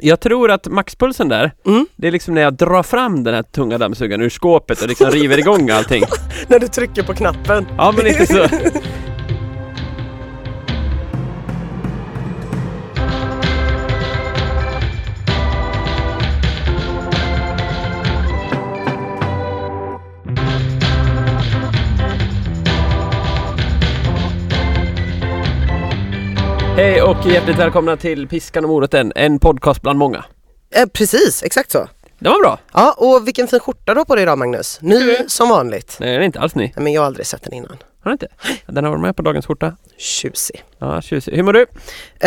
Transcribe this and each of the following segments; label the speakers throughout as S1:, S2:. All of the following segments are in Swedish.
S1: Jag tror att maxpulsen där,
S2: Mm.
S1: det är liksom när jag drar fram den här tunga dammsugaren ur skåpet och liksom river igång allting.
S2: När du trycker på knappen.
S1: Ja men inte så. Hej och hjärtligt välkomna till Piskan och moroten, en podcast bland många.
S2: Eh, precis, exakt så.
S1: Den var bra!
S2: Ja, och vilken fin skjorta du har på dig idag Magnus. Ny som vanligt.
S1: Nej, den är inte alls ny.
S2: Nej, men jag har aldrig sett den innan.
S1: Har den inte? Den har varit med på dagens skjorta.
S2: Tjusig.
S1: Ja, tjusig. Hur mår du?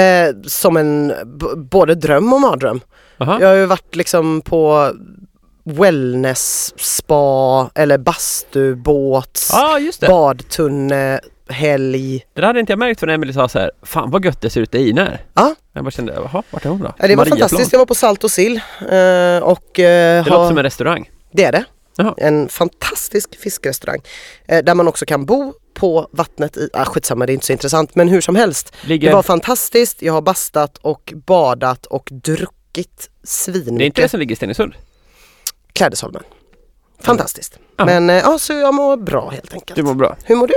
S2: Eh, som en b- både dröm och mardröm.
S1: Aha.
S2: Jag har ju varit liksom på wellness, spa eller bastu, båt,
S1: Ja, ah, just det.
S2: badtunne, helg.
S1: Det där hade inte jag märkt förrän Emelie sa så här, fan vad gött det ser ut i Ina här."
S2: Ja.
S1: Jag bara kände, jaha, vart är hon då?
S2: Ja, det var
S1: Mariaplan.
S2: fantastiskt. Jag var på Salt och sill. Eh, och, eh,
S1: Det
S2: har-
S1: låter som en restaurang.
S2: Det är det.
S1: Jaha.
S2: En fantastisk fiskrestaurang eh, där man också kan bo på vattnet i, ah, skitsamma det är inte så intressant men hur som helst.
S1: Ligger...
S2: Det
S1: Det,
S2: var fantastiskt, jag har bastat och badat och druckit
S1: är inte det
S2: svinmycket
S1: som ligger i Stenungsund?
S2: Klädesholmen. Fantastiskt.
S1: Ja.
S2: Men eh, ja, så jag mår bra helt enkelt.
S1: Du mår bra.
S2: Hur mår du?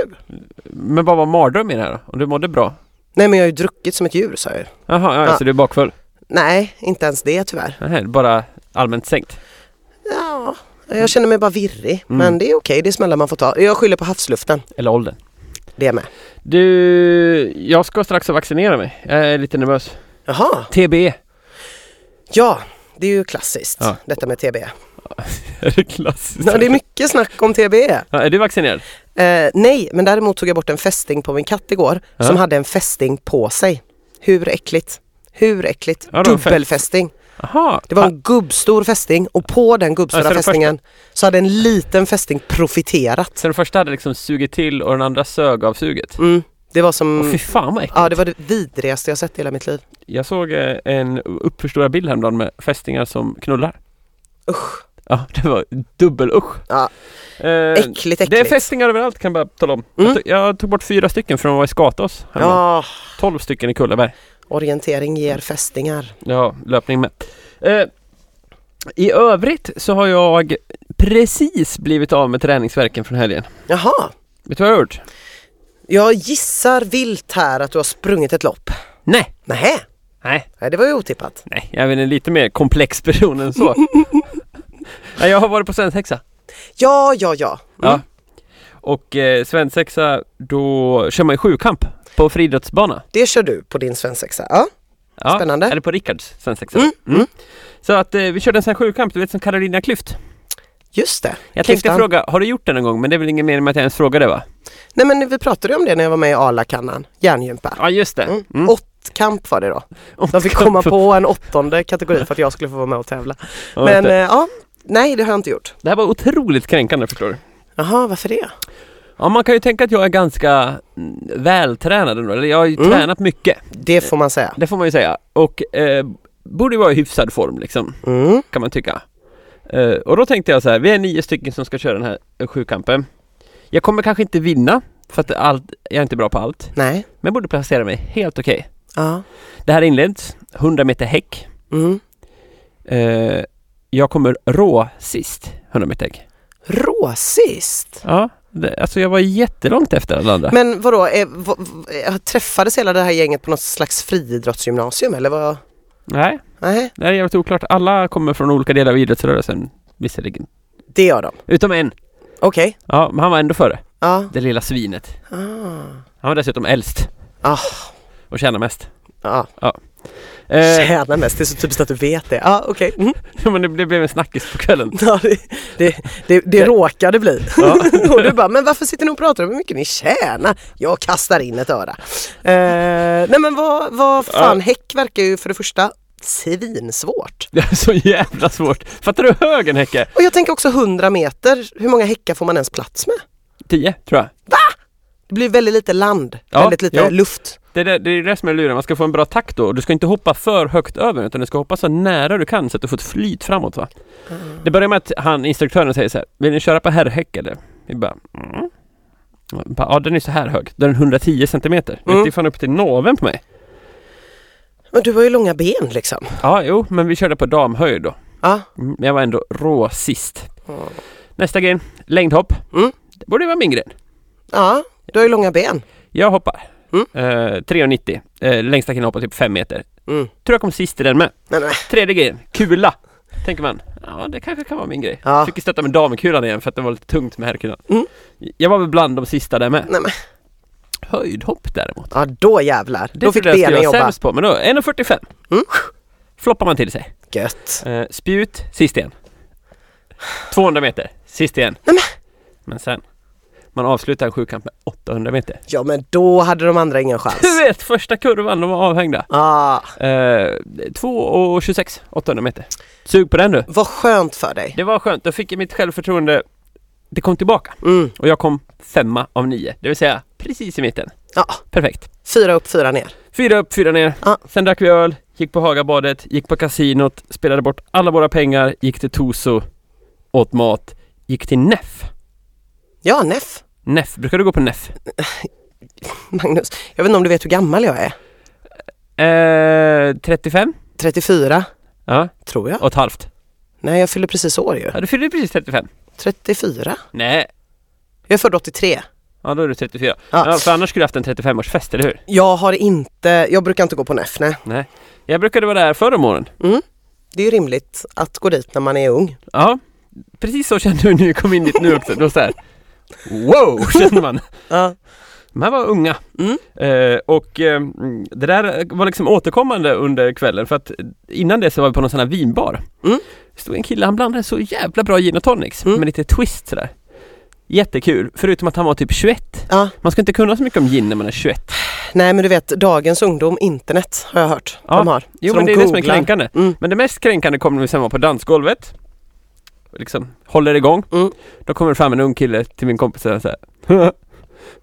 S1: Men vad var mardröm i det här då? Om du mådde bra?
S2: Nej men jag har ju druckit som ett djur sa jag ju.
S1: Jaha, ja,
S2: Ja.
S1: så du är bakfull?
S2: Nej, inte ens det tyvärr.
S1: Nähä, bara allmänt sänkt?
S2: Ja, jag känner mig bara virrig.
S1: Mm.
S2: Men det är okej, det är smällar man får ta. Jag skyller på havsluften,
S1: Eller åldern?
S2: det med.
S1: Du, jag ska strax vaccinera mig. Jag är lite nervös. E.
S2: Jaha,
S1: TBE.
S2: ja. Det är ju klassiskt
S1: Ja.
S2: detta med TB.
S1: Är det klassiskt?
S2: Ja, det är mycket snack om TBE.
S1: Ja, är du vaccinerad?
S2: Eh, nej, men däremot tog jag bort en fästing på min katt igår
S1: Ja.
S2: som hade en fästing på sig. Hur äckligt? Hur äckligt?
S1: Ja, det var en fest.
S2: Dubbelfästing.
S1: Jaha.
S2: Det var
S1: Ah,
S2: en gubbstor fästing och på den
S1: Ja, så
S2: gubbstora
S1: den
S2: fästingen så hade en liten fästing profiterat.
S1: Så den första hade liksom sugit till och den andra sög av suget?
S2: Mm, det var som...
S1: Åh, fy fan vad äckligt.
S2: ja, det var det vidrigaste jag sett i hela mitt liv.
S1: Jag såg eh, en uppförstorad bild häromdagen med fästingar som knullar.
S2: Usch.
S1: Ja, det var dubbel usch.
S2: Ja.
S1: Eh,
S2: Äckligt, äckligt.
S1: det är fästingar överallt kan jag bara tala om.
S2: Mm.
S1: Jag, tog, jag tog bort fyra stycken från vad i Skatås. Ja.
S2: Ja,
S1: 12 stycken i Kullaberg.
S2: orientering ger fästingar.
S1: Ja, löpning med. Eh, I övrigt så har jag precis blivit av med träningsverken från helgen.
S2: Jaha,
S1: Vet du vad jag har gjort?
S2: jag gissar vilt här att du har sprungit ett lopp.
S1: Nej!
S2: Nähä,
S1: Nej,
S2: nej, det var ju otippat.
S1: nej, jag är väl en lite mer komplex person än så. Nej, jag har varit på svensexa.
S2: Ja, ja, ja. Mm.
S1: Ja. Och eh, svensexa, då kör man ju sjukamp på friidrottsbana.
S2: Det kör du på din svensexa. Ja.
S1: Ja,
S2: Spännande.
S1: Eller på Rickards svensexa.
S2: Mm, mm.
S1: Så att eh, vi körde en sån här sjukamp, du vet som Carolina Klüft.
S2: Just det.
S1: Jag
S2: Klyftan.
S1: tänkte fråga, har du gjort den någon gång? Men det är väl ingen mening med att jag ens frågade va?
S2: Nej men vi pratade ju om det när jag var med i Arlakannan, järngympa.
S1: Ja just det.
S2: Mm.
S1: Mm.
S2: Åttkamp var det då. De fick komma på en åttonde kategori för att jag skulle få vara med och tävla.
S1: Ja, vet
S2: Men eh,
S1: du.
S2: ja, nej det har jag inte gjort.
S1: Det här var otroligt kränkande förstår du.
S2: Jaha, varför det?
S1: Ja man kan ju tänka att jag är ganska mm, vältränad ändå, eller jag har ju
S2: Mm.
S1: tränat mycket.
S2: Det får man säga.
S1: Det får man ju säga. Och eh, borde ju vara i hyfsad form liksom,
S2: Mm.
S1: kan man tycka. Eh, och då tänkte jag så här, vi är nio stycken som ska köra den här eh, sjukampen. Jag kommer kanske inte vinna, för att allt, jag är inte bra på allt.
S2: Nej.
S1: Men jag borde placera mig helt okej.
S2: Ja.
S1: Det här inleds, 100 meter häck.
S2: Mm.
S1: Eh, jag kommer rå sist, 100 meter häck.
S2: Råsist.
S1: Ja, det, alltså jag var jättelångt efter alla andra.
S2: Men vadå, eh, v- v- eh, träffades hela det här gänget på något slags friidrottsgymnasium eller vad?
S1: Nej,
S2: Nej,
S1: det här är jävligt oklart. Alla kommer från olika delar av idrottsrörelsen, visserligen.
S2: det gör de.
S1: Utom en.
S2: Okej.
S1: Ja, men han var ändå före.
S2: Ja.
S1: Det lilla svinet.
S2: Ah.
S1: Han var dessutom äldst
S2: Ah.
S1: och tjänade mest.
S2: Ja.
S1: Eh,
S2: Tjänar mest, det är så typiskt att du vet det. Ja, okej. Mm.
S1: men det blev en snackis på kvällen.
S2: Ja, det, det, det, det råkade bli.
S1: Ja.
S2: och du bara, men varför sitter ni och pratar om hur mycket ni tjänar? Jag kastar in ett öra. Eh, nej men vad, vad fan,
S1: Ja.
S2: häck verkar ju för det första svinsvårt.
S1: Det är så jävla svårt. Fattar du hur hög en häck är?
S2: Och jag tänker också 100 meter, hur många häckar får man ens plats med?
S1: 10, tror jag.
S2: Det blir väldigt lite land,
S1: Ja,
S2: väldigt lite
S1: ja.
S2: luft.
S1: Det är det, det är det som är luren, man ska få en bra takt då. Du ska inte hoppa för högt över utan du ska hoppa så nära du kan så att du får ett flyt framåt va. Det börjar med att han, instruktören säger så här, vill ni köra på herrhäck eller? Vi bara, mm. Jag bara, Ja den är så här hög, då är den 110 centimeter.
S2: Mm.
S1: Det är fan upp till naveln på mig.
S2: Men du har ju långa ben liksom.
S1: Ja, jo, men vi körde på damhöjd då.
S2: Ja.
S1: Mm, Men jag var ändå rå sist.
S2: Ja.
S1: Nästa gren, längdhopp.
S2: Mm.
S1: Det borde vara min gren.
S2: ja, du har ju långa ben.
S1: Jag hoppar.
S2: Mm.
S1: Eh, 3,90. Eh, längsta killen hoppar typ 5 meter.
S2: Mm.
S1: Tror jag kom sist i den med.
S2: Nej, nej.
S1: Tredje grejen, kula. Tänker man, ja det kanske kan vara min grej.
S2: Ja.
S1: Fick ju stötta med damkulan igen för att det var lite tungt med herrkulan.
S2: Mm.
S1: Jag var väl bland de sista där med.
S2: Nej, men.
S1: Höjdhopp däremot.
S2: Ja, då jävlar.
S1: Det
S2: då fick
S1: trodde jag skulle
S2: benen
S1: vara
S2: jobba.
S1: sämst på, men då 1,45.
S2: Mm.
S1: Floppar man till sig.
S2: Gött.
S1: Eh, spjut, sist igen. 200 meter, sist igen.
S2: Nej,
S1: Men sen, man avslutar en sjukamp med 800 meter.
S2: Ja, men då hade de andra ingen chans. Ah,
S1: Du vet, första kurvan, de var avhängda.
S2: Ja,
S1: Eh, 2,26, 800 meter. Sug på den du.
S2: vad skönt för dig.
S1: Det var skönt, då fick jag mitt självförtroende. Det kom tillbaka.
S2: Mm.
S1: Och jag kom femma av nio, det vill säga precis i mitten.
S2: Ja,
S1: Perfekt.
S2: fyra upp, fyra ner.
S1: Fyra upp, fyra ner.
S2: Ja.
S1: Sen drack vi öl, gick på Hagabadet, gick på kasinot, spelade bort alla våra pengar, gick till Toso, åt mat, gick till Neff.
S2: Ja, Neff.
S1: Neff, brukar du gå på Neff?
S2: Magnus, jag vet inte om du vet hur gammal jag är?
S1: Eh, 35?
S2: 34,
S1: Ja,
S2: tror jag.
S1: och ett halvt.
S2: Nej, jag fyller precis år ju.
S1: Ja, du fyllde precis 35.
S2: 34?
S1: Nej,
S2: Jag är född 83.
S1: ja då är du 34.
S2: Ja.
S1: Ja, för annars skulle du haft en 35-årsfest, eller hur?
S2: Jag har inte, jag brukar inte gå på NEF, nej.
S1: Nej. Jag brukade vara där förra morgonen.
S2: Mm. Det är ju rimligt att gå dit när man är ung.
S1: Ja, precis så kände jag när jag kom in dit nu också. Då så här. Wow, kände man.
S2: Ja.
S1: De här var unga.
S2: Mm.
S1: Eh, och eh, det där var liksom återkommande under kvällen för att innan det så var vi på någon sån här vinbar.
S2: Mm.
S1: Det stod en kille, han blandade så jävla bra gin och tonics
S2: Mm.
S1: med lite twist sådär. Jättekul, förutom att han var typ 21.
S2: ja.
S1: Man ska inte kunna så mycket om gin när man är 21.
S2: Nej, men du vet, dagens ungdom, internet har jag hört.
S1: Ja.
S2: De har.
S1: Jo
S2: Så
S1: men
S2: de
S1: det är det som är
S2: googlar.
S1: kränkande.
S2: Mm.
S1: Men det mest kränkande kommer när vi sen var på dansgolvet. Liksom håller igång.
S2: Mm.
S1: Då kommer det fram en ung kille till min kompis och säger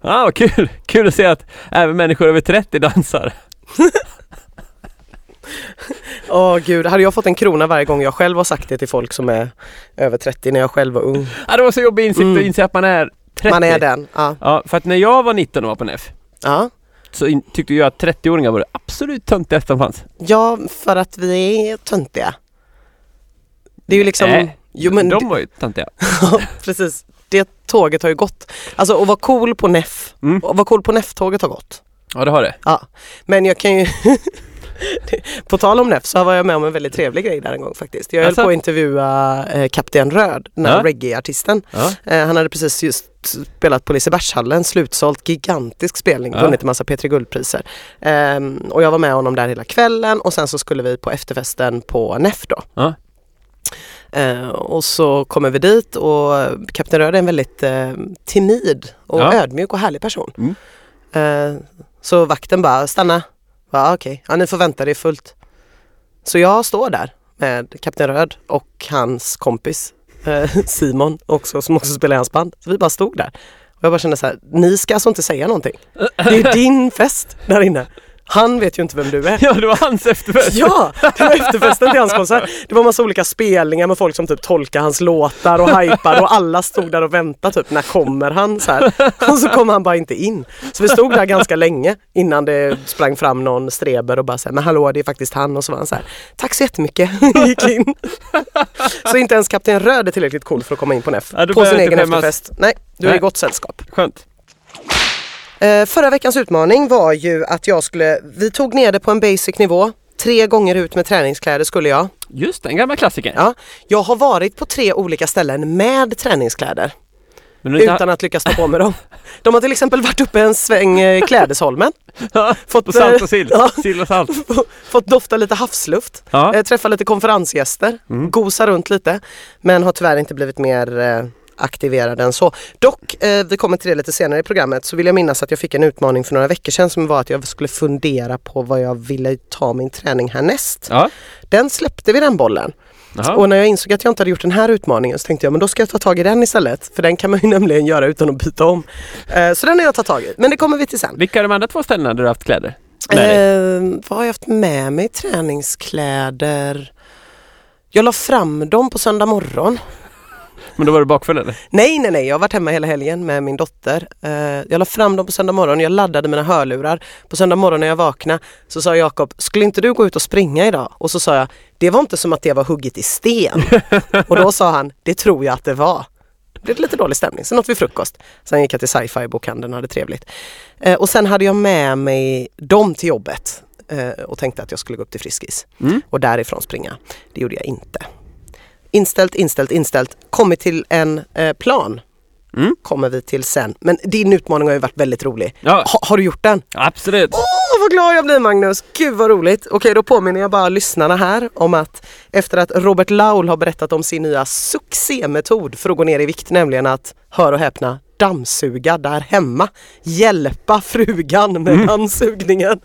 S1: Ja ah, vad kul! Kul att se att även människor över 30 dansar.
S2: Åh gud, hade jag fått en krona varje gång jag själv har sagt det till folk som är över 30 när jag själv var ung.
S1: Ja, Ah, det var så jobbig insikt
S2: Mm.
S1: att inse att man är 30.
S2: Man är den. Ja.
S1: Ja, för att när jag var 19 och var på NF
S2: Ja.
S1: så in- tyckte jag att 30-åringar var det absolut töntigaste som fanns.
S2: ja, för att vi är töntiga. Det är ju liksom...
S1: Nej,
S2: jo, men
S1: de var ju töntiga.
S2: Precis, det tåget har ju gått. Alltså att vara cool på NEF,
S1: Mm.
S2: att vara cool på NEF-tåget har gått.
S1: Ja, det har det.
S2: Ja, men jag kan ju... på tal om NEF så var jag med om en väldigt trevlig grej där en gång faktiskt. Jag höll
S1: Alltså?
S2: på att intervjua eh, Kapten Röd, den här
S1: Ja.
S2: reggae-artisten.
S1: Ja.
S2: Eh, han hade precis just spelat på Lisebergshallen, slutsålt, gigantisk spelning,
S1: Ja.
S2: vunnit en massa P3 Guldpriser. Ehm, och jag var med honom där hela kvällen och sen så skulle vi på efterfesten på NEF då.
S1: Ja.
S2: Eh, och så kommer vi dit och Kapten Röd är en väldigt eh, timid och
S1: Ja.
S2: ödmjuk och härlig person.
S1: Mm.
S2: Eh, så vakten bara, stanna. Ja okej, ja, ni får vänta det är fullt. Så jag står där med Kapten Röd och hans kompis eh, Simon också, som också spelar i hans band. Så vi bara stod där. Och jag bara kände så här, ni ska alltså inte säga någonting. Det är ju din fest där inne. Han vet ju inte vem du är.
S1: ja, det var hans efterfest.
S2: Ja, det var efterfesten till hans konsert. Det var massa olika spelningar med folk som typ tolkar hans låtar och hypade och alla stod där och väntade typ när kommer han så här. Och så kom han bara inte in. Så vi stod där ganska länge innan det sprang fram någon streber och bara så här, men hallå det är faktiskt han och så var han så här, tack så jättemycket, gick in. Så inte ens Kapten Röd är tillräckligt cool för att komma in på en F
S1: Ja, du
S2: på sin
S1: behöver
S2: egen
S1: inte skämmas.
S2: efterfest. Nej, du är i
S1: Nej.
S2: gott sällskap.
S1: Skönt.
S2: Eh, förra veckans utmaning var ju att jag skulle, vi tog ner det på en basic nivå. Tre gånger ut med träningskläder skulle jag.
S1: Just det, en gammal klassiker.
S2: Ja, jag har varit på tre olika ställen med träningskläder
S1: Men du
S2: utan att lyckas ta på mig dem. De har till exempel varit uppe en sväng eh, i Klädesholmen,
S1: Ja,
S2: fått,
S1: på salt
S2: eh,
S1: och sill.
S2: ja.
S1: Sill och salt.
S2: fått dofta lite havsluft,
S1: Ja. Mm.
S2: eh, träffa lite konferensgäster, gosa runt lite men har tyvärr inte blivit mer eh, aktiverad än så. Dock, eh, vi kommer till det lite senare i programmet, så vill jag minnas att jag fick en utmaning för några veckor sedan som var att jag skulle fundera på vad jag ville ta min träning härnäst.
S1: Ja.
S2: Den släppte vi den bollen.
S1: Jaha.
S2: Och när jag insåg att jag inte hade gjort den här utmaningen så tänkte jag men då ska jag ta tag i den istället. För den kan man ju nämligen göra utan att byta om. Eh, så den har jag tagit tag i. Men det kommer vi till sen.
S1: Vilka är de andra två ställena där du har haft kläder?
S2: Eh,
S1: Med dig?
S2: vad har jag haft med mig? Träningskläder. Jag la fram dem på söndag morgon.
S1: Men då var du bakfull eller?
S2: Nej, nej, nej. Jag har varit hemma hela helgen med min dotter. Eh, jag la fram dem på söndag morgon. Jag laddade mina hörlurar. På söndag morgon när jag vaknade så sa Jakob, skulle inte du gå ut och springa idag? Och så sa jag, det var inte som att det var hugget i sten. och då sa han, det tror jag att det var. Det blev lite dålig stämning. Sen åt vi frukost. Sen gick jag till sci-fi bokhandeln och hade trevligt. Eh, och sen hade jag med mig dem till jobbet eh, och tänkte att jag skulle gå upp till Friskis
S1: Mm.
S2: och därifrån springa. Det gjorde jag inte. Inställt, inställt, inställt. Kommit till en eh, plan.
S1: Mm.
S2: Kommer vi till sen. Men din utmaning har ju varit väldigt rolig.
S1: Ja,
S2: Ha, har du gjort den?
S1: absolut.
S2: Åh, vad glad jag blir Magnus! Gud vad roligt! Okej, då påminner jag bara lyssnarna här om att efter att Robert Laul har berättat om sin nya succémetod för att gå ner i vikt, nämligen att, hör och häpna, dammsuga där hemma. Hjälpa frugan med dammsugningen.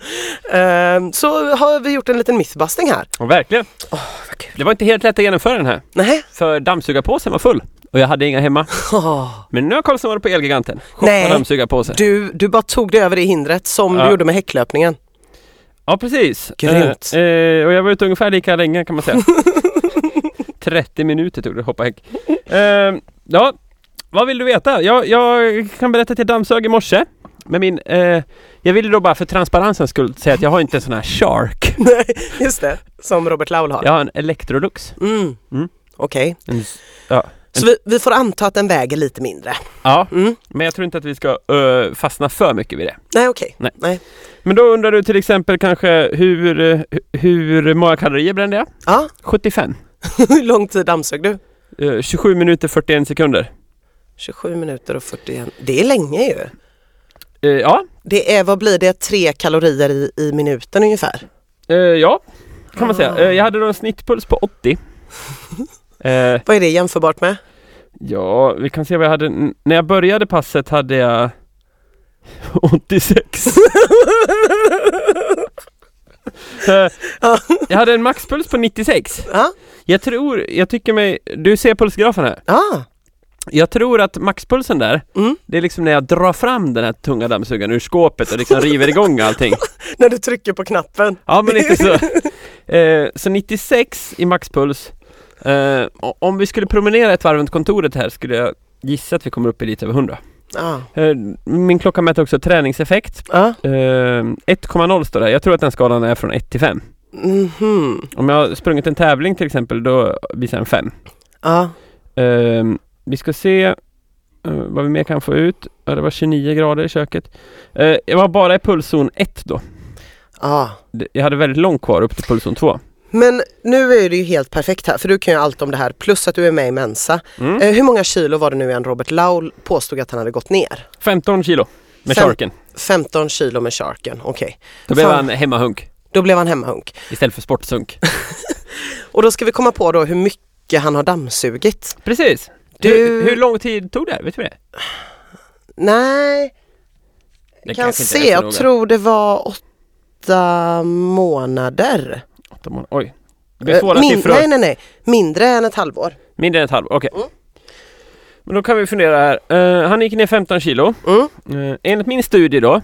S2: Ehm, så har vi gjort en liten mythbusting här.
S1: Och verkligen.
S2: Åh, vad kul!
S1: Det var inte helt lätt att genomföra den här.
S2: Nej.
S1: För dammsugarpåsen var full. Och jag hade inga hemma.
S2: Åh.
S1: Men nu har Karlsson varit på Elgiganten.
S2: Nej.
S1: Shoppat dammsugarpåse.
S2: Du, du bara tog dig över det hindret som du
S1: Ja.
S2: gjorde med häcklöpningen.
S1: Ja, precis.
S2: Grymt.
S1: Eh, eh, och jag var ute ungefär lika länge kan man säga. 30 minuter tog det att hoppa häck. Eh, ja, vad vill du veta? Jag, jag kan berätta att jag dammsög i morse. Med min, eh, jag ville då bara för transparensens skull säga att jag har inte en sån här Shark.
S2: Nej, just det. Som Robert Laul har.
S1: Jag har en Electrolux.
S2: Mm.
S1: Mm.
S2: Okej,
S1: En, s- ja.
S2: så vi, vi får anta att den väger lite mindre.
S1: ja,
S2: Mm.
S1: men jag tror inte att vi ska eh, fastna för mycket vid det.
S2: Nej, okej.
S1: Nej.
S2: Nej.
S1: Men då undrar du till exempel kanske hur, eh, hur många kalorier brände jag?
S2: Ja,
S1: 75.
S2: hur lång tid dammsög du?
S1: Eh, 27 minuter 41 sekunder.
S2: 27 minuter och 41. Det är länge ju.
S1: Eh, ja,
S2: Det är, vad blir det, tre kalorier i, i minuten ungefär?
S1: Eh, ja, kan man säga.
S2: Ah.
S1: Eh, jag hade då en snittpuls på 80. eh,
S2: Vad är det jämförbart med?
S1: ja, vi kan se vad jag hade. N- när jag började passet hade jag 86. Eh,
S2: Ja.
S1: jag hade en maxpuls på 96.
S2: Ja,
S1: Jag tror, jag tycker mig, du ser pulsgrafen här.
S2: ja.
S1: Jag tror att maxpulsen där,
S2: Mm.
S1: det är liksom när jag drar fram den här tunga dammsugaren ur skåpet och liksom river igång allting.
S2: när du trycker på knappen.
S1: Ja men lite så. Eh, så 96 i maxpuls. Eh, o- om vi skulle promenera ett varv runt kontoret här skulle jag gissa att vi kommer upp i lite över 100.
S2: Ja.
S1: Eh, min klocka mäter också träningseffekt.
S2: ja.
S1: Eh, 1,0 står det här. Jag tror att den skalan är från 1 till 5.
S2: Mhm.
S1: Om jag har sprungit en tävling till exempel då visar den 5.
S2: Ja.
S1: Eh, vi ska se eh, vad vi mer kan få ut. Ja, det var 29 grader i köket. Eh, jag var bara i pulszon 1 då.
S2: ja.
S1: Det- Jag hade väldigt långt kvar upp till pulszon 2.
S2: Men nu är det ju helt perfekt här, för du kan ju allt om det här, plus att du är med i Mensa.
S1: Mm.
S2: Eh, hur många kilo var det nu än Robert Laul påstod att han hade gått ner?
S1: 15 kilo med
S2: Fem-
S1: sharken.
S2: 15 kilo med sharken, okej.
S1: Då blev
S2: Fan.
S1: han hemmahunk
S2: Då blev han hemmahunk.
S1: istället för sportsunk.
S2: Och då ska vi komma på då hur mycket han har dammsugit.
S1: Precis.
S2: Du-
S1: Hur, hur lång tid tog det? Vet vi det?
S2: Nej,
S1: det
S2: kan
S1: kanske inte är
S2: se,
S1: så
S2: jag
S1: noga.
S2: tror det var åtta månader.
S1: Åtta månader. Oj. Det blir svåra
S2: Eh, min-
S1: siffror.
S2: Nej, nej, nej. Mindre än ett halvår.
S1: Mindre än ett halvår, okej.
S2: Mm.
S1: Men då kan vi fundera här. Eh, han gick ner 15 kilo.
S2: Mm.
S1: Uh, enligt min studie då,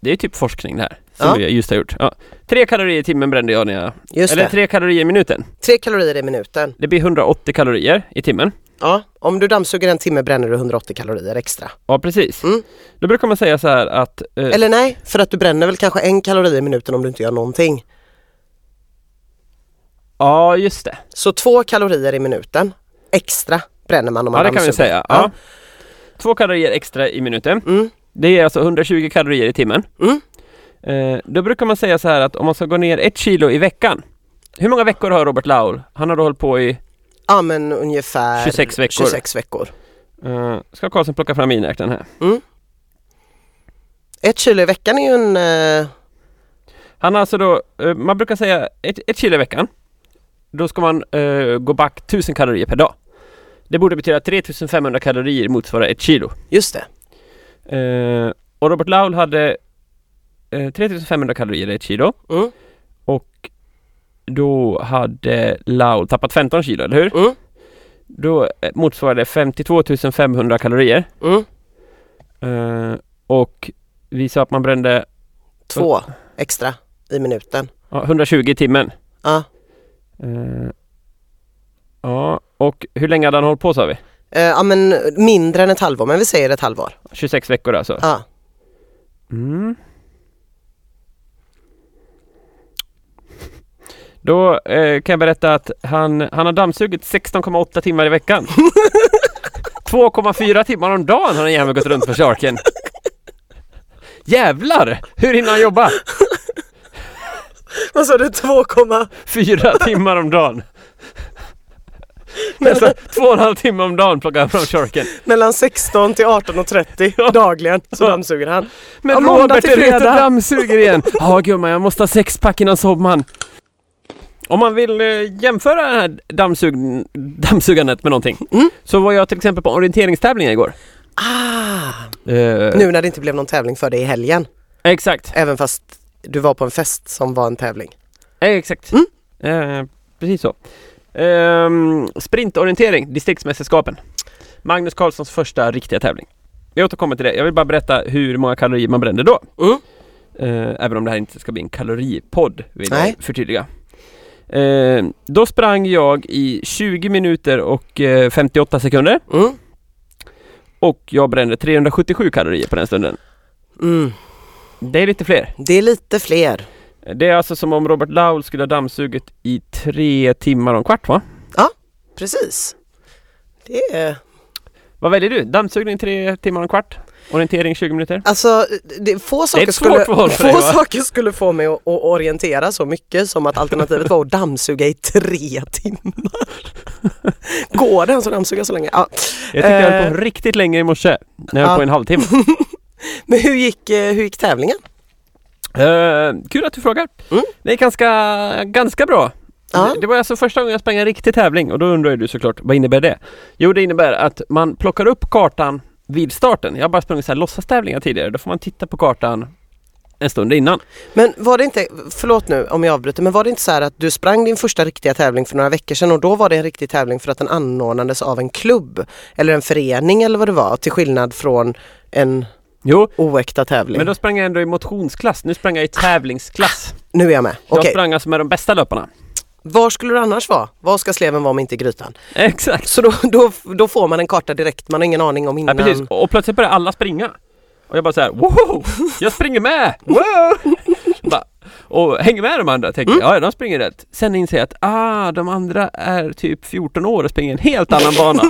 S1: det är typ forskning det här, som
S2: Ja.
S1: vi just har gjort. Ja. Tre kalorier i timmen brände jag när jag...
S2: Just
S1: eller
S2: det.
S1: tre kalorier i minuten.
S2: Tre kalorier i minuten.
S1: Det blir 180 kalorier i timmen.
S2: Ja, om du dammsuger en timme bränner du 180 kalorier extra.
S1: Ja, precis.
S2: Mm.
S1: Då brukar man säga så här att... eh,
S2: Eller nej, för att du bränner väl kanske en kalori i minuten om du inte gör någonting.
S1: Ja, just det.
S2: Så två kalorier i minuten extra bränner man om man
S1: Ja, det kan vi
S2: dammsuger.
S1: säga.
S2: Ja.
S1: Ja. Två kalorier extra i minuten.
S2: Mm.
S1: Det är alltså 120 kalorier i timmen.
S2: Mm.
S1: Eh, då brukar man säga så här att om man ska gå ner ett kilo i veckan. Hur många veckor har Robert Laul? Han har då hållit på i...
S2: ja, men ungefär
S1: 26 veckor.
S2: 26 veckor.
S1: Eh, ska Karlsson plocka fram miniräknaren här.
S2: Ett kilo i veckan är ju en... eh,
S1: Han har alltså då, eh, man brukar säga ett, ett kilo i veckan. Då ska man eh, gå back 1000 kalorier per dag. Det borde betyda att 3500 kalorier motsvarar ett kilo.
S2: just det.
S1: Eh, och Robert Laul hade eh, 3500 kalorier i ett kilo.
S2: Mm.
S1: Och då hade Laul tappat 15 kilo, eller hur?
S2: Mm.
S1: Då eh, motsvarade det 52 500 kalorier.
S2: Mm.
S1: Eh, och vi sa att man brände
S2: Två
S1: Mm.
S2: extra i minuten.
S1: ja, 120 i timmen.
S2: Ja,
S1: Eh, ja, Och hur länge hade han hållit på sa vi?
S2: Eh, ja men mindre än ett halvår, men vi säger ett halvår.
S1: 26 veckor alltså?
S2: Ja.
S1: Mm. Då eh, kan jag berätta att han, han har dammsugit 16,8 timmar i veckan. 2,4 timmar om dagen har den jäveln gått runt på charken. Jävlar! Hur hinner han jobba?
S2: Vad sa du, 2,?
S1: Fyra timmar om dagen. Nästan två och en halv timme om dagen plockar han fram charken.
S2: Mellan 16 till 18.30 dagligen så dammsuger han.
S1: Men
S2: Ja, måndag
S1: Robert
S2: till
S1: är ute och
S2: fredag.
S1: dammsuger igen. Ja gumman, jag måste ha sexpack innan sommaren. Om man vill eh, jämföra det här dammsug- dammsugandet med någonting.
S2: Mm.
S1: Så var jag till exempel på orienteringstävlingar igår.
S2: Ah,
S1: Eh,
S2: nu när det inte blev någon tävling för dig i helgen,
S1: Exakt,
S2: även fast du var på en fest som var en tävling.
S1: eh, exakt.
S2: Mm.
S1: Eh, precis så. Ehm, sprintorientering, distriktsmästerskapen. Magnus Carlssons första riktiga tävling. Vi återkommer till det. Jag vill bara berätta hur många kalorier man brände då.
S2: Mm.
S1: Eh, även om det här inte ska bli en kaloripodd vill jag
S2: Nej.
S1: förtydliga. Eh, då sprang jag i 20 minuter och eh, 58 sekunder
S2: Mm.
S1: och jag brände 377 kalorier på den stunden.
S2: Mm.
S1: Det är lite fler.
S2: Det är lite fler.
S1: Det är alltså som om Robert Laul skulle ha dammsugit i tre timmar och en kvart va?
S2: Precis. Det är...
S1: Vad väljer du? Dammsugning tre timmar och en kvart? Orientering 20 minuter?
S2: Alltså, det, få, saker
S1: ett svårt
S2: skulle,
S1: val för dig,
S2: få
S1: va?
S2: saker skulle få mig att, att orientera så mycket som att alternativet var att dammsuga i tre timmar. Går det ens att dammsuga så länge? Ja.
S1: Jag tyckte jag höll på
S2: Eh.
S1: riktigt länge i morse. När jag höll
S2: Ja.
S1: på en halvtimme.
S2: Men hur gick, eh, hur gick tävlingen?
S1: Eh, kul att du frågar.
S2: Mm.
S1: Det är ganska, ganska bra.
S2: Ja.
S1: Det, det var alltså första gången jag sprang en riktig tävling och då undrar ju du såklart, vad innebär det? Jo, det innebär att man plockar upp kartan vid starten. Jag har bara sprungit så här låtsastävlingar tidigare. Då får man titta på kartan en stund innan.
S2: Men var det inte, förlåt nu om jag avbryter, men var det inte så här att du sprang din första riktiga tävling för några veckor sedan och då var det en riktig tävling för att den anordnades av en klubb eller en förening eller vad det var till skillnad från en
S1: Jo,
S2: oäkta tävling.
S1: men då sprang jag ändå i motionsklass. Nu sprang jag i tävlingsklass.
S2: Nu är jag med.
S1: Jag
S2: Okej,
S1: sprang alltså med de bästa löparna.
S2: var skulle du annars vara? Var ska sleven vara om inte i grytan?
S1: Exakt.
S2: Så då, då, då får man en karta direkt, man har ingen aning om
S1: Ja,
S2: innan.
S1: precis. Och plötsligt börjar alla springa. Och jag bara så här, wow! Jag springer med! Wow! bara, och hänger med de andra, tänker
S2: Mm.
S1: jag, ja de springer rätt. Sen inser jag att, ah, de andra är typ 14 år och springer en helt annan bana.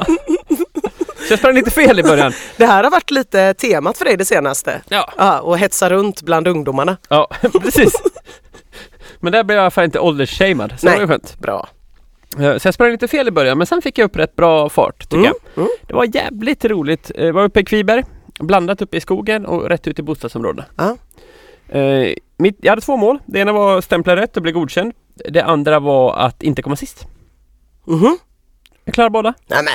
S1: Så jag sprang lite fel i början.
S2: Det här har varit lite temat för dig det senaste.
S1: Ja,
S2: Ja, och hetsa runt bland ungdomarna.
S1: ja precis. Men där blev jag i alla fall inte åldersshamad, så det var ju skönt.
S2: Bra.
S1: Eh, Så jag sprang lite fel i början, men sen fick jag upp rätt bra fart, tycker
S2: Mm,
S1: jag.
S2: mm.
S1: Det var jävligt roligt. Eh, Jag var uppe i Kviberg, blandat uppe i skogen och rätt ut i bostadsområdena.
S2: Ja.
S1: Eh, mitt, jag hade två mål. Det ena var att stämpla rätt och bli godkänd. Det andra var att inte komma sist.
S2: Mhm.
S1: Jag klarade båda.
S2: Nej men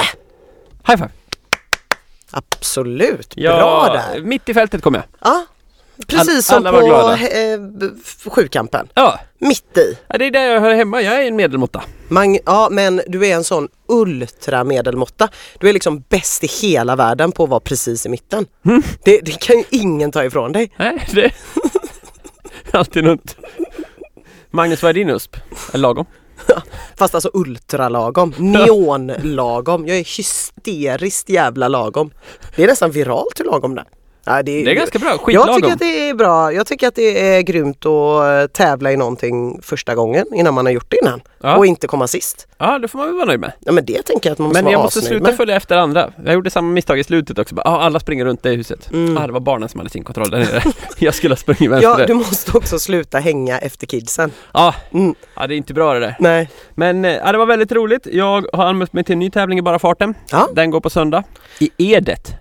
S1: High five!
S2: absolut,
S1: Jag,
S2: bra där.
S1: Mitt i fältet kom jag.
S2: Ja, precis
S1: All-
S2: som
S1: alla var glada.
S2: på eh, b- f- sjukampen.
S1: Ja,
S2: Mitt i.
S1: ja, det är där jag hör hemma. Jag är en medelmåtta.
S2: Man, ja, men du är en sån ultramedelmåtta. Du är liksom bäst i hela världen på att vara precis i mitten.
S1: Mm.
S2: Det, det kan ju ingen ta ifrån dig.
S1: Nej, det... Alltid något. Magnus, vad är din USP? Är lagom?
S2: Fast alltså ultralagom, neonlagom. Jag är hysteriskt jävla lagom. Det är nästan viralt hur lagom det är. Ja, det,
S1: Det är ganska bra.
S2: jag
S1: Skitlagom.
S2: tycker att det är bra. Jag tycker att det är grymt att eh, tävla i någonting första gången innan man har gjort det innan.
S1: Ja.
S2: Och inte komma sist.
S1: Ja, det får man väl vara nöjd med.
S2: Ja men det tänker jag att man måste
S1: Men
S2: vara
S1: jag måste
S2: asnöjd
S1: sluta
S2: med.
S1: följa efter andra. Jag gjorde samma misstag i slutet också. Bara, ah, alla springer runt det huset. Ah, det var barnen som hade sin kontroll där nere. jag skulle ha sprungit vänster.
S2: Mm. Ja,
S1: Ja,
S2: du måste också sluta hänga efter kidsen. Mm.
S1: ja, det är inte bra det där.
S2: Nej.
S1: Men eh, ja, det var väldigt roligt. Jag har anmält mig till en ny tävling i Bara farten.
S2: Ja.
S1: Den går på söndag. I Edet.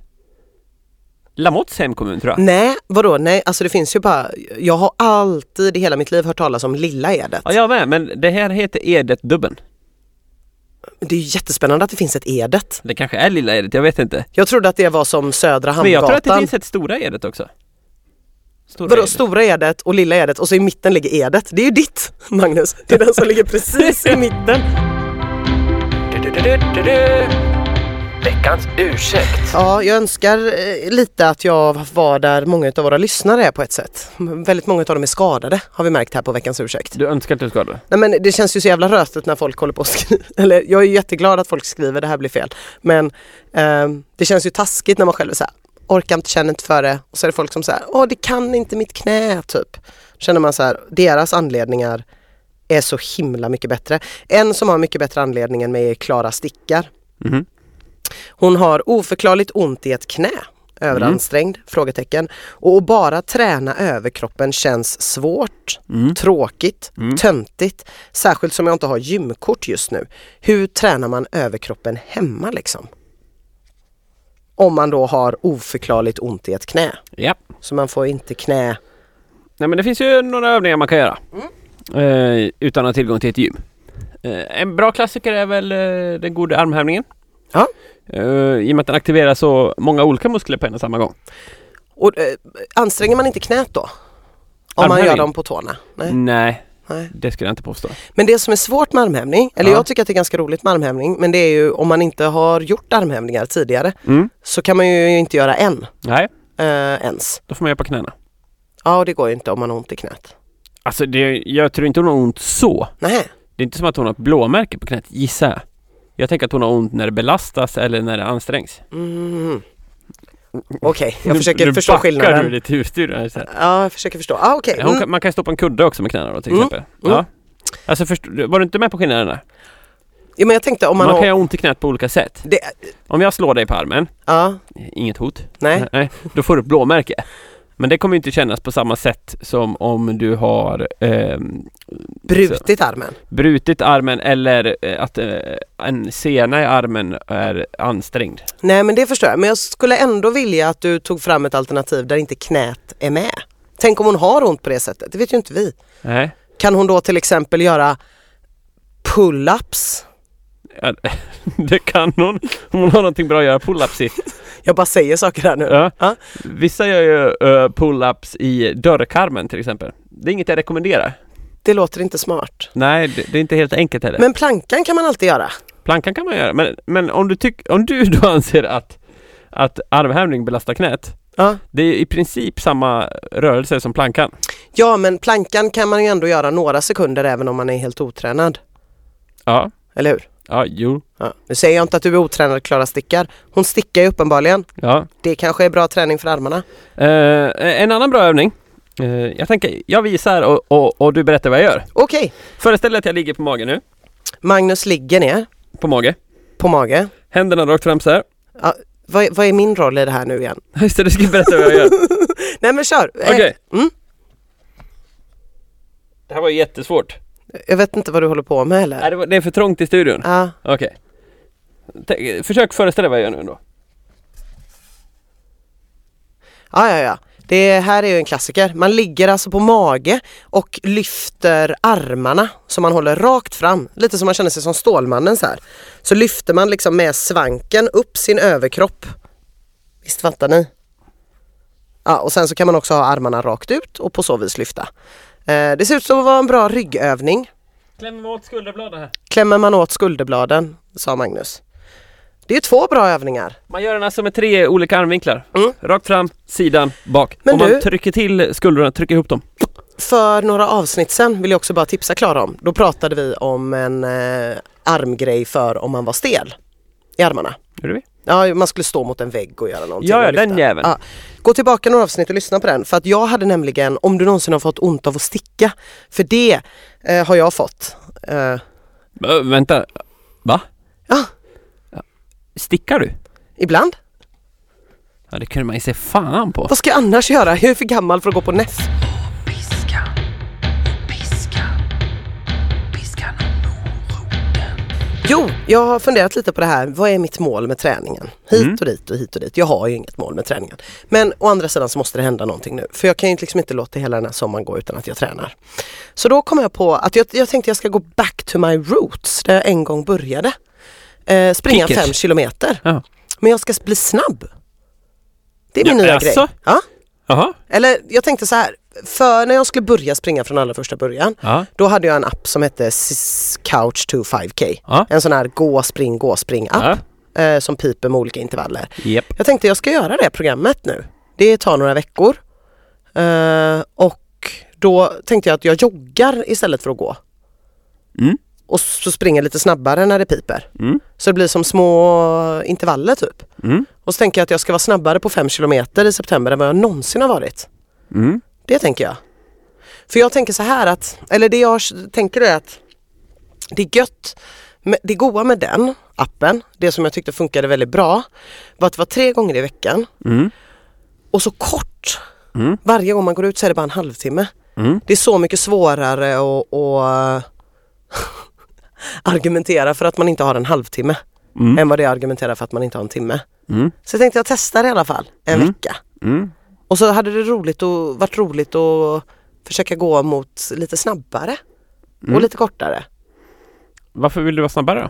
S1: Lamotts hemkommun tror jag.
S2: Nej, vadå? Nej, alltså det finns ju bara... Jag har alltid i hela mitt liv hört talas om Lilla Edet.
S1: Ja, jag med. Men det här heter Edet-dubben.
S2: Det är ju jättespännande att det finns ett Edet.
S1: Det kanske är Lilla Edet, jag vet inte.
S2: Jag trodde att det var som Södra
S1: Men jag tror
S2: Hamngatan.
S1: att det finns ett Stora Edet också. Stora
S2: Vadå,
S1: Edet.
S2: Stora Edet och Lilla Edet och så i mitten ligger Edet. Det är ju ditt, Magnus. Det är den som ligger precis i mitten.
S3: Veckans ursäkt.
S2: Ja, jag önskar eh, lite att jag var där många av våra lyssnare är på ett sätt. M- Väldigt många av dem är skadade har vi märkt här på veckans ursäkt.
S1: Du önskar att du skadade?
S2: Nej men det känns ju så jävla rötet när folk håller på och skriver. Eller jag är ju jätteglad att folk skriver det här blir fel. Men ehm, det känns ju taskigt när man själv är så här, orkar inte, känner inte för det. Och så är det folk som säger, åh det kan inte mitt knä typ. Känner man så här, deras anledningar är så himla mycket bättre. En som har mycket bättre anledning än mig är Klara Stickar.
S1: Mhm.
S2: Hon har oförklarligt ont i ett knä. Överansträngd? Frågetecken. Och att bara träna överkroppen känns svårt, tråkigt, töntigt. Särskilt som jag inte har gymkort just nu. Hur tränar man överkroppen hemma liksom? Om man då har oförklarligt ont i ett knä.
S1: Ja.
S2: Så man får inte knä...
S1: Nej men det finns ju några övningar man kan göra. Eh, utan att ha tillgång till ett gym. Eh, en bra klassiker är väl eh, den goda armhävningen.
S2: Ja.
S1: Eh, I och med att den aktiverar så många olika muskler på en och samma gång.
S2: Och, eh, anstränger man inte knät då? Om man
S1: Armhävning?
S2: gör dem på tårna?
S1: Mm.
S2: Nej.
S1: Nej,
S2: Nej.
S1: det skulle jag inte påstå.
S2: Men det som är svårt med armhävning, eller
S1: Ja.
S2: jag tycker att det är ganska roligt med armhävning, men det är ju om man inte har gjort armhävningar tidigare
S1: Mm.
S2: så kan man ju inte göra en
S1: Nej,
S2: eh, ens.
S1: då får man göra på knäna.
S2: Ja, och det går ju inte om man har ont i knät.
S1: Alltså det, jag tror inte hon har ont så.
S2: Nej.
S1: Det är inte som att hon har ett blåmärke på knät, gissar jag. Jag tänker att hon har ont när det belastas eller när det ansträngs.
S2: Mm. Okej, jag
S1: Nu-
S2: försöker
S1: nu
S2: förstå
S1: backar
S2: skillnaden.
S1: du lite ur studion här, så här.
S2: Ja, jag försöker förstå. Ah, okej.
S1: Hon
S2: Mm.
S1: kan, man kan stå på en kudde också med knäna då till
S2: Mm.
S1: exempel. Ja. Alltså först, var du inte med på skillnaden där?
S2: Ja, Mm. men jag tänkte om
S1: Man,
S2: man,
S1: kan
S2: har...
S1: ju ha ont i knät på olika sätt.
S2: Det...
S1: Om jag slår dig på armen,
S2: Ja,
S1: inget hot,
S2: nej.
S1: då får du ett blåmärke. Men det kommer ju inte kännas på samma sätt som om du har ehm,
S2: Brutit armen.
S1: brutit armen eller eh, att eh, en sena i armen är ansträngd.
S2: Nej, men det förstår jag. Men jag skulle ändå vilja att du tog fram ett alternativ där inte knät är med. Tänk om hon har ont på det sättet. Det vet ju inte vi.
S1: Nej.
S2: Kan hon då till exempel göra pull-ups?
S1: Ja, Det kan hon. Om hon har någonting bra att göra pull-ups i.
S2: Jag bara säger saker här nu.
S1: Ja.
S2: Ja.
S1: Vissa gör ju eh, pull-ups i dörrkarmen till exempel. Det är inget jag rekommenderar.
S2: Det låter inte smart.
S1: Nej, det, det är inte helt enkelt heller.
S2: Men plankan kan man alltid göra.
S1: Plankan kan man göra, men, men om, du tyck, om du då anser att, att armhävning belastar knät,
S2: Ja.
S1: det är i princip samma rörelse som plankan.
S2: ja, men plankan kan man ju ändå göra några sekunder även om man är helt otränad.
S1: Ja,
S2: Eller hur?
S1: ja, jo,
S2: Ja. Nu säger jag inte att du är otränad Klara Stickar. Hon stickar ju uppenbarligen.
S1: ja.
S2: Det kanske är bra träning för armarna.
S1: Eh, en annan bra övning. Eh, jag tänker, jag visar och, och, och du berättar vad jag gör.
S2: Okej,
S1: Föreställ dig att jag ligger på mage nu,
S2: Magnus ligger ner
S1: på mage.
S2: på mage.
S1: Händerna rakt fram så här.
S2: Vad, vad är min roll i det här nu igen?
S1: Just det, du ska berätta vad jag gör.
S2: Nej men kör! Eh,
S1: Okej.
S2: Mm.
S1: Det här var ju jättesvårt.
S2: Eh, Jag vet inte vad du håller på med
S1: Nej,
S2: heller.
S1: det, var, det är för trångt i studion.
S2: Ja.
S1: Okej. Tänk- Försök föreställa dig vad jag gör nu då.
S2: Ja, ja, ja. Det här är ju en klassiker. Man ligger alltså på mage och lyfter armarna som man håller rakt fram. Lite som man känner sig som Stålmannen så här. Så lyfter man liksom med svanken upp sin överkropp. Visst fattar ni? Ja, och sen så kan man också ha armarna rakt ut och på så vis lyfta. Eh, det ser ut som att vara en bra ryggövning.
S1: Klämmer åt skulderbladen här.
S2: Klämmer man åt skulderbladen, sa Magnus. Det är ju två bra övningar.
S1: Man gör den alltså med tre olika armvinklar. Rakt fram, sidan, bak.
S2: Men
S1: och
S2: du-
S1: man trycker till skulderna, trycker ihop dem.
S2: För några avsnitt sen vill jag också bara tipsa Klara om. Då pratade vi om en eh, armgrej för om man var stel i armarna.
S1: Gjorde vi?
S2: Ja, man skulle stå mot en vägg och göra någonting.
S1: Ja, ja,
S2: och lyfta.
S1: den jäveln.
S2: Ja. Gå tillbaka några avsnitt och lyssna på den. För att jag hade nämligen, om du någonsin har fått ont av att sticka, för det eh, har jag fått. Eh,
S1: Ö, vänta. Va?
S2: Ja.
S1: Ja. Stickar du?
S2: ibland.
S1: Ja, det kunde man ju se fan på.
S2: Vad ska jag annars göra? Jag är för gammal för att gå på NEF.
S3: Piska. Piska. Piska moroten.
S2: Jo, jag har funderat lite på det här. Vad är mitt mål med träningen? Hit
S1: Mm.
S2: och dit och hit och dit. Jag har ju inget mål med träningen. Men å andra sidan så måste det hända någonting nu. För jag kan ju liksom inte låta hela den här sommaren gå utan att jag tränar. Så då kom jag på att jag, jag tänkte jag ska gå back to my roots där jag en gång började. Eh, springa
S1: Kickers.
S2: fem kilometer.
S1: Ja.
S2: Men jag ska bli snabb. Det är min
S1: Ja,
S2: nya
S1: alltså?
S2: grej. Ja.
S1: Jaha.
S2: Eller jag tänkte så här. För när jag skulle börja springa från allra första början
S1: Ja.
S2: då hade jag en app som hette Sis- Couch to 5K.
S1: Ja.
S2: En sån här gå, spring, gå, spring app.
S1: Ja.
S2: eh, som piper med olika intervaller.
S1: Japp.
S2: Jag tänkte jag ska göra det programmet nu. Det tar några veckor. Eh, och då tänkte jag att jag joggar istället för att gå.
S1: Mm.
S2: Och så springer lite snabbare när det piper.
S1: Mm.
S2: Så det blir som små intervaller typ.
S1: Mm.
S2: Och så tänker jag att jag ska vara snabbare på 5 kilometer i september än vad jag någonsin har varit.
S1: Mm.
S2: Det tänker jag. För jag tänker så här att, eller det jag tänker är att det är gött, men det goa med den appen, det som jag tyckte funkade väldigt bra, var att det var tre gånger i veckan
S1: Mm.
S2: och så kort.
S1: Mm.
S2: Varje gång man går ut så är det bara en halvtimme.
S1: Mm.
S2: Det är så mycket svårare att, att argumentera för att man inte har en halvtimme
S1: Mm.
S2: än vad det är att argumentera för att man inte har en timme.
S1: Mm.
S2: Så jag tänkte jag testar i alla fall en
S1: Mm.
S2: vecka.
S1: Mm.
S2: Och så hade det roligt och varit roligt att försöka gå mot lite snabbare och lite kortare.
S1: Varför vill du vara snabbare då?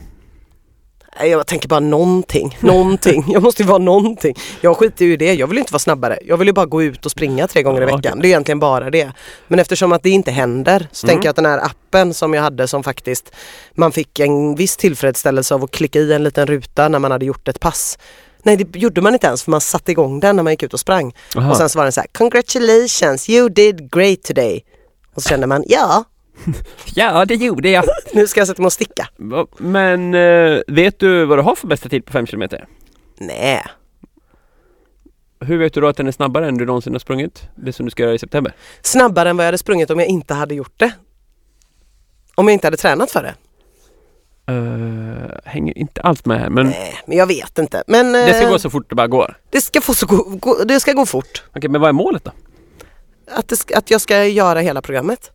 S2: Nej, Jag tänker bara någonting, någonting. Jag måste ju vara någonting. Jag skiter ju i det. Jag vill ju inte vara snabbare. Jag vill ju bara gå ut och springa tre gånger i
S1: Ja,
S2: veckan. Det är egentligen bara det. Men eftersom att det inte händer så tänker jag att den här appen som jag hade som faktiskt man fick en viss tillfredsställelse av att klicka i en liten ruta när man hade gjort ett pass. Nej det gjorde man inte ens för man satte igång den när man gick ut och sprang.
S1: Aha.
S2: Och sen så var den så här “Congratulations, you did great today”. Och så kände man “Ja,
S1: Ja, det gjorde jag.
S2: nu ska jag sätta mig och sticka”.
S1: Men eh, vet du vad du har för bästa tid på 5 km?
S2: Nej.
S1: Hur vet du då att den är snabbare än du någonsin har sprungit? Det som du ska göra i september?
S2: snabbare än vad jag hade sprungit om jag inte hade gjort det. Om jag inte hade tränat för det.
S1: Uh, hänger inte alls med här men
S2: Nej, men jag vet inte. Men
S1: det ska
S2: eh,
S1: gå så fort det bara går.
S2: det ska, få så gå, gå, det ska gå fort.
S1: Okej, men vad är målet då?
S2: Att, det ska, att jag ska göra hela programmet.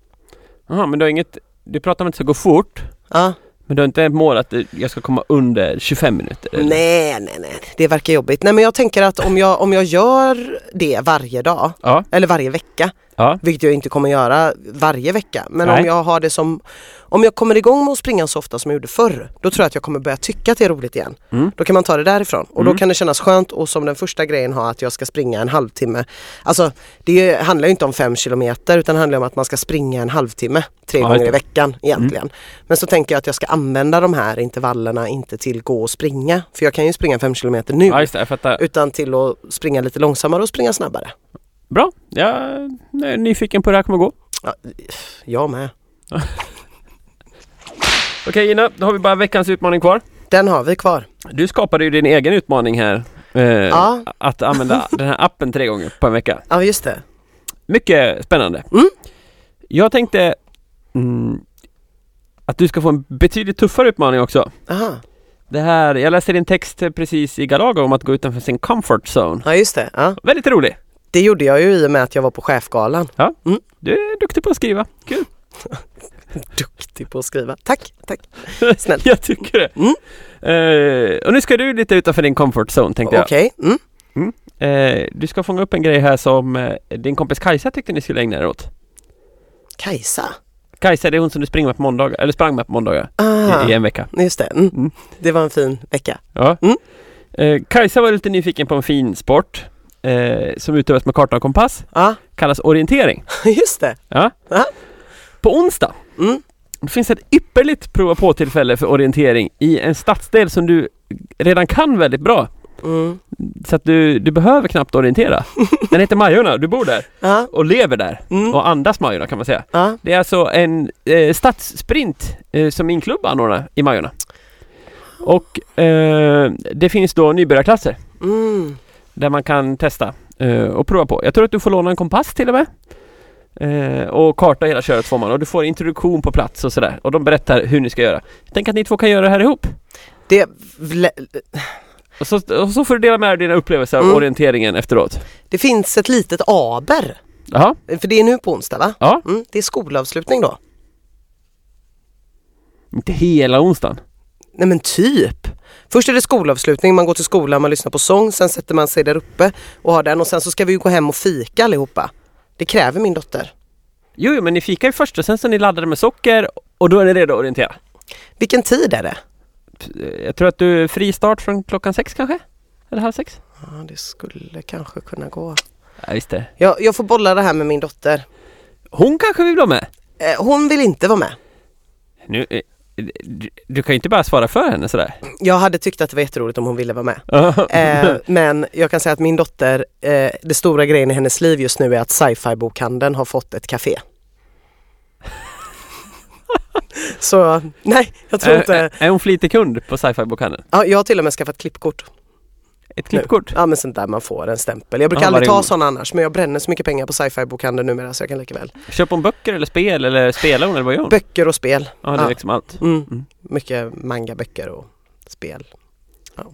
S1: Jaha, men du har inget... Du pratar om att det ska gå fort,
S2: Ja.
S1: men du har inte ett mål att eh, jag ska komma under 25 minuter? eller?
S2: Nej, nej, nej. Det verkar jobbigt. Nej, men jag tänker att om jag, om jag gör det varje dag
S1: Ja,
S2: eller varje vecka,
S1: ja,
S2: vilket jag inte kommer göra varje vecka. Men
S1: Nej.
S2: om jag har det som, om jag kommer igång med att springa så ofta som jag gjorde förr, då tror jag att jag kommer börja tycka att det är roligt igen.
S1: Mm.
S2: Då kan man ta det därifrån och
S1: Mm.
S2: då kan det kännas skönt och som den första grejen ha att jag ska springa en halvtimme. Alltså det handlar ju inte om fem kilometer utan det handlar om att man ska springa en halvtimme tre
S1: Ja,
S2: gånger i
S1: just det. Mm.
S2: veckan egentligen. Men så tänker jag att jag ska använda de här intervallerna inte till gå och springa, för jag kan ju springa fem kilometer nu,
S1: ja just det, jag fattar.
S2: utan till att springa lite långsammare och springa snabbare.
S1: Bra, jag är nyfiken på hur det här kommer gå.
S2: Ja, jag med.
S1: Okej Gina, då har vi bara veckans utmaning kvar.
S2: Den har vi kvar.
S1: Du skapade ju din egen utmaning här. Eh,
S2: Ja.
S1: Att använda den här appen tre gånger på en vecka.
S2: Ja just det.
S1: Mycket spännande.
S2: Mm.
S1: Jag tänkte mm, att du ska få en betydligt tuffare utmaning också.
S2: Aha.
S1: Det här, jag läste din text precis i Galago om att gå utanför sin comfort zone.
S2: Ja just det. Ja.
S1: Väldigt rolig.
S2: Det gjorde jag ju i och med att jag var på chefgalan.
S1: Du är duktig på att skriva. Kul.
S2: Duktig på att skriva. Tack, tack. Snällt.
S1: jag tycker det.
S2: Mm.
S1: Eh, och nu ska du lite utanför din comfort zone tänkte
S2: Okej.
S1: jag.
S2: Mm.
S1: Eh, du ska fånga upp en grej här som eh, din kompis Kajsa tyckte ni skulle ägna er åt.
S2: Kajsa.
S1: Kajsa, det är hon som du springer med på måndagar, eller sprang med på måndagar
S2: Ah,
S1: i, i en vecka.
S2: Just det. Mm.
S1: Mm.
S2: Det var en fin vecka.
S1: Ja.
S2: Mm.
S1: Eh, Kajsa var lite nyfiken på en fin sport eh, som utövas med karta och kompass,
S2: Ja,
S1: kallas orientering.
S2: just det.
S1: Ja.
S2: Ja.
S1: På onsdag
S2: Mm.
S1: det finns ett ypperligt prova på-tillfälle för orientering i en stadsdel som du redan kan väldigt bra.
S2: Mm.
S1: Så att du, du behöver knappt orientera. Den heter Majorna, du bor där
S2: Ja.
S1: och lever där
S2: Mm.
S1: och andas Majorna kan man säga.
S2: Ja.
S1: Det är alltså en eh, stadssprint eh, som min klubb anordnar i Majorna. Och eh, det finns då nybörjarklasser
S2: Mm.
S1: där man kan testa eh, och prova på. Jag tror att du får låna en kompass till och med. Eh, och karta hela köret får man och du får introduktion på plats och sådär. Och de berättar hur ni ska göra. Tänk att ni två kan göra det här ihop.
S2: Det, vle-
S1: Och så, och så får du dela med dig av dina upplevelser av
S2: Mm.
S1: orienteringen efteråt.
S2: det finns ett litet aber.
S1: Jaha,
S2: För det är nu på onsdag va?
S1: ja.
S2: Mm. Det är skolavslutning då.
S1: Inte hela onsdagen.
S2: Nej men typ. Först är det skolavslutning, man går till skolan, man lyssnar på sång, sen sätter man sig där uppe och har den och sen så ska vi ju gå hem och fika allihopa. Det kräver min dotter.
S1: Jo, jo, men ni fikar ju först och sen så är ni laddade med socker och då är ni redo att orientera.
S2: Vilken tid är det?
S1: Eh, Jag tror att du är fri start från klockan sex kanske? Eller halv sex?
S2: Ja, det skulle kanske kunna gå.
S1: Ja, visst det.
S2: Jag, jag får bolla det här med min dotter.
S1: Hon kanske vill vara med?
S2: Eh, hon vill inte vara med.
S1: Nu, eh, du, du kan ju inte bara svara för henne sådär.
S2: Jag hade tyckt att det var jätteroligt om hon ville vara med. Eh,
S1: Ja.
S2: men jag kan säga att min dotter, eh, det stora grejen i hennes liv just nu är att sci-fi bokhandeln har fått ett café. Så nej, jag tror
S1: är,
S2: inte.
S1: är, är hon flitig kund på sci-fi bokhandeln?
S2: Ja, jag har till och med skaffat klippkort.
S1: Ett klippkort?
S2: Ja men sånt där man får en stämpel. Jag brukar
S1: Ja,
S2: aldrig
S1: varje
S2: ta
S1: gång.
S2: sådana annars men jag bränner så mycket pengar på sci-fi bokhandeln numera så jag kan lika väl.
S1: Köper hon böcker eller spel eller spelar hon eller vad gör hon?
S2: Böcker och spel.
S1: Ja, det är
S2: Ja.
S1: liksom allt.
S2: Mm.
S1: Mm.
S2: Mycket mangaböcker och spel. Ja. Ha,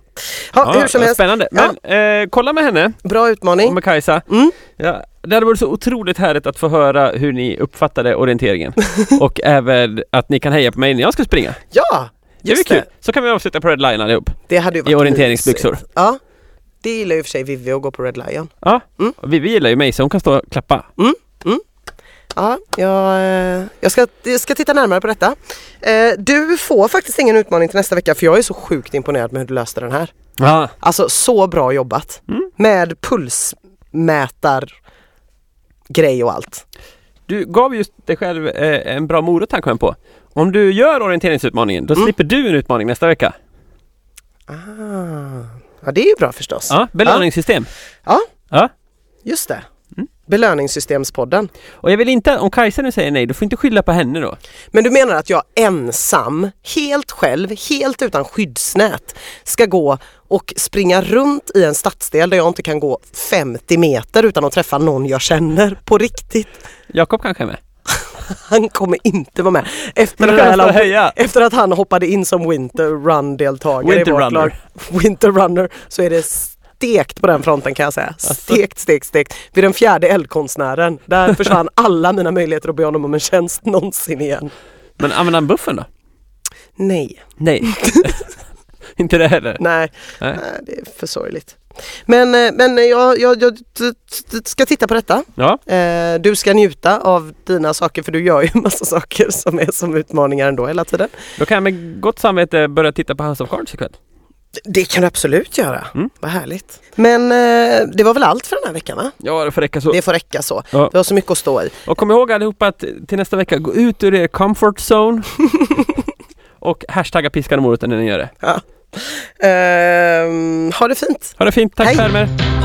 S1: Ja,
S2: hur som
S1: ja,
S2: helst,
S1: Spännande. Men eh, kolla med henne
S2: bra
S1: och
S2: utmaning.
S1: med Kajsa.
S2: Mm.
S1: Ja, det hade varit så otroligt härligt att få höra hur ni uppfattade orienteringen och även att ni kan heja på mig när jag ska springa.
S2: Ja,
S1: Det blir
S2: just
S1: kul.
S2: det.
S1: Så kan vi avsluta på Red Line allihop
S2: Det hade ju varit
S1: i orienteringsbyxor.
S2: mysigt. Ja, det gillar ju i och för sig Vivi att gå på Red Lion. Mm.
S1: Vi, vi gillar ju mig så hon kan stå och klappa.
S2: Ja, jag, eh, jag, ska, jag ska titta närmare på detta. Eh, Du får faktiskt ingen utmaning till nästa vecka för jag är så sjukt imponerad med hur du löste den här.
S1: Ja.
S2: Alltså så bra jobbat
S1: Mm.
S2: med pulsmätar grej och allt.
S1: Du gav just dig själv eh, en bra morot här kom jag på. Om du gör orienteringsutmaningen, då
S2: Mm.
S1: slipper du en utmaning nästa vecka.
S2: Ah. Ja, det är ju bra förstås.
S1: Ja, belöningssystem.
S2: Just det.
S1: Mm.
S2: Belöningssystemspodden.
S1: Och jag vill inte, om Kajsa nu säger nej, du får inte skylla på henne då.
S2: Men du menar att jag ensam, helt själv, helt utan skyddsnät ska gå och springa runt i en stadsdel där jag inte kan gå 50 meter utan att träffa någon jag känner på riktigt.
S1: Jakob kanske är med?
S2: Han kommer inte vara med. Efter,
S1: Du
S2: det
S1: kan stå och
S2: här,
S1: heja!
S2: efter att han hoppade in som Winter Run-deltagare
S1: Winter
S2: i vårt
S1: runner.
S2: lag, Winter Runner, så är det stekt på den fronten kan jag säga.
S1: Alltså.
S2: Stekt, stekt, stekt. Vid den fjärde eldkonstnären, där försvann alla mina möjligheter att be honom om en tjänst någonsin igen.
S1: Men använder han buffen då?
S2: Nej.
S1: Nej. inte det heller.
S2: Nej,
S1: Nej.
S2: nej. det är för sorgligt. Men, eh, men jag, jag, jag t- t- ska titta på detta.
S1: Ja,
S2: Eh, Du ska njuta av dina saker för du gör ju en massa saker som är som utmaningar ändå hela tiden.
S1: då kan jag med gott samvete börja titta på House of Cards ikväll.
S2: Det kan du absolut göra.
S1: Mm.
S2: Vad härligt. Men eh, det var väl allt för den här veckan va?
S1: Ja, det får räcka så.
S2: Det får räcka så.
S1: Ja.
S2: Vi har så mycket att stå i.
S1: Och kom ihåg allihopa att till nästa vecka, gå ut ur er comfort zone. och hashtagga piskan och moroten när ni gör det.
S2: Ja. Ehm, ha det fint.
S1: Ha det fint, tack
S2: Hej.
S1: för er.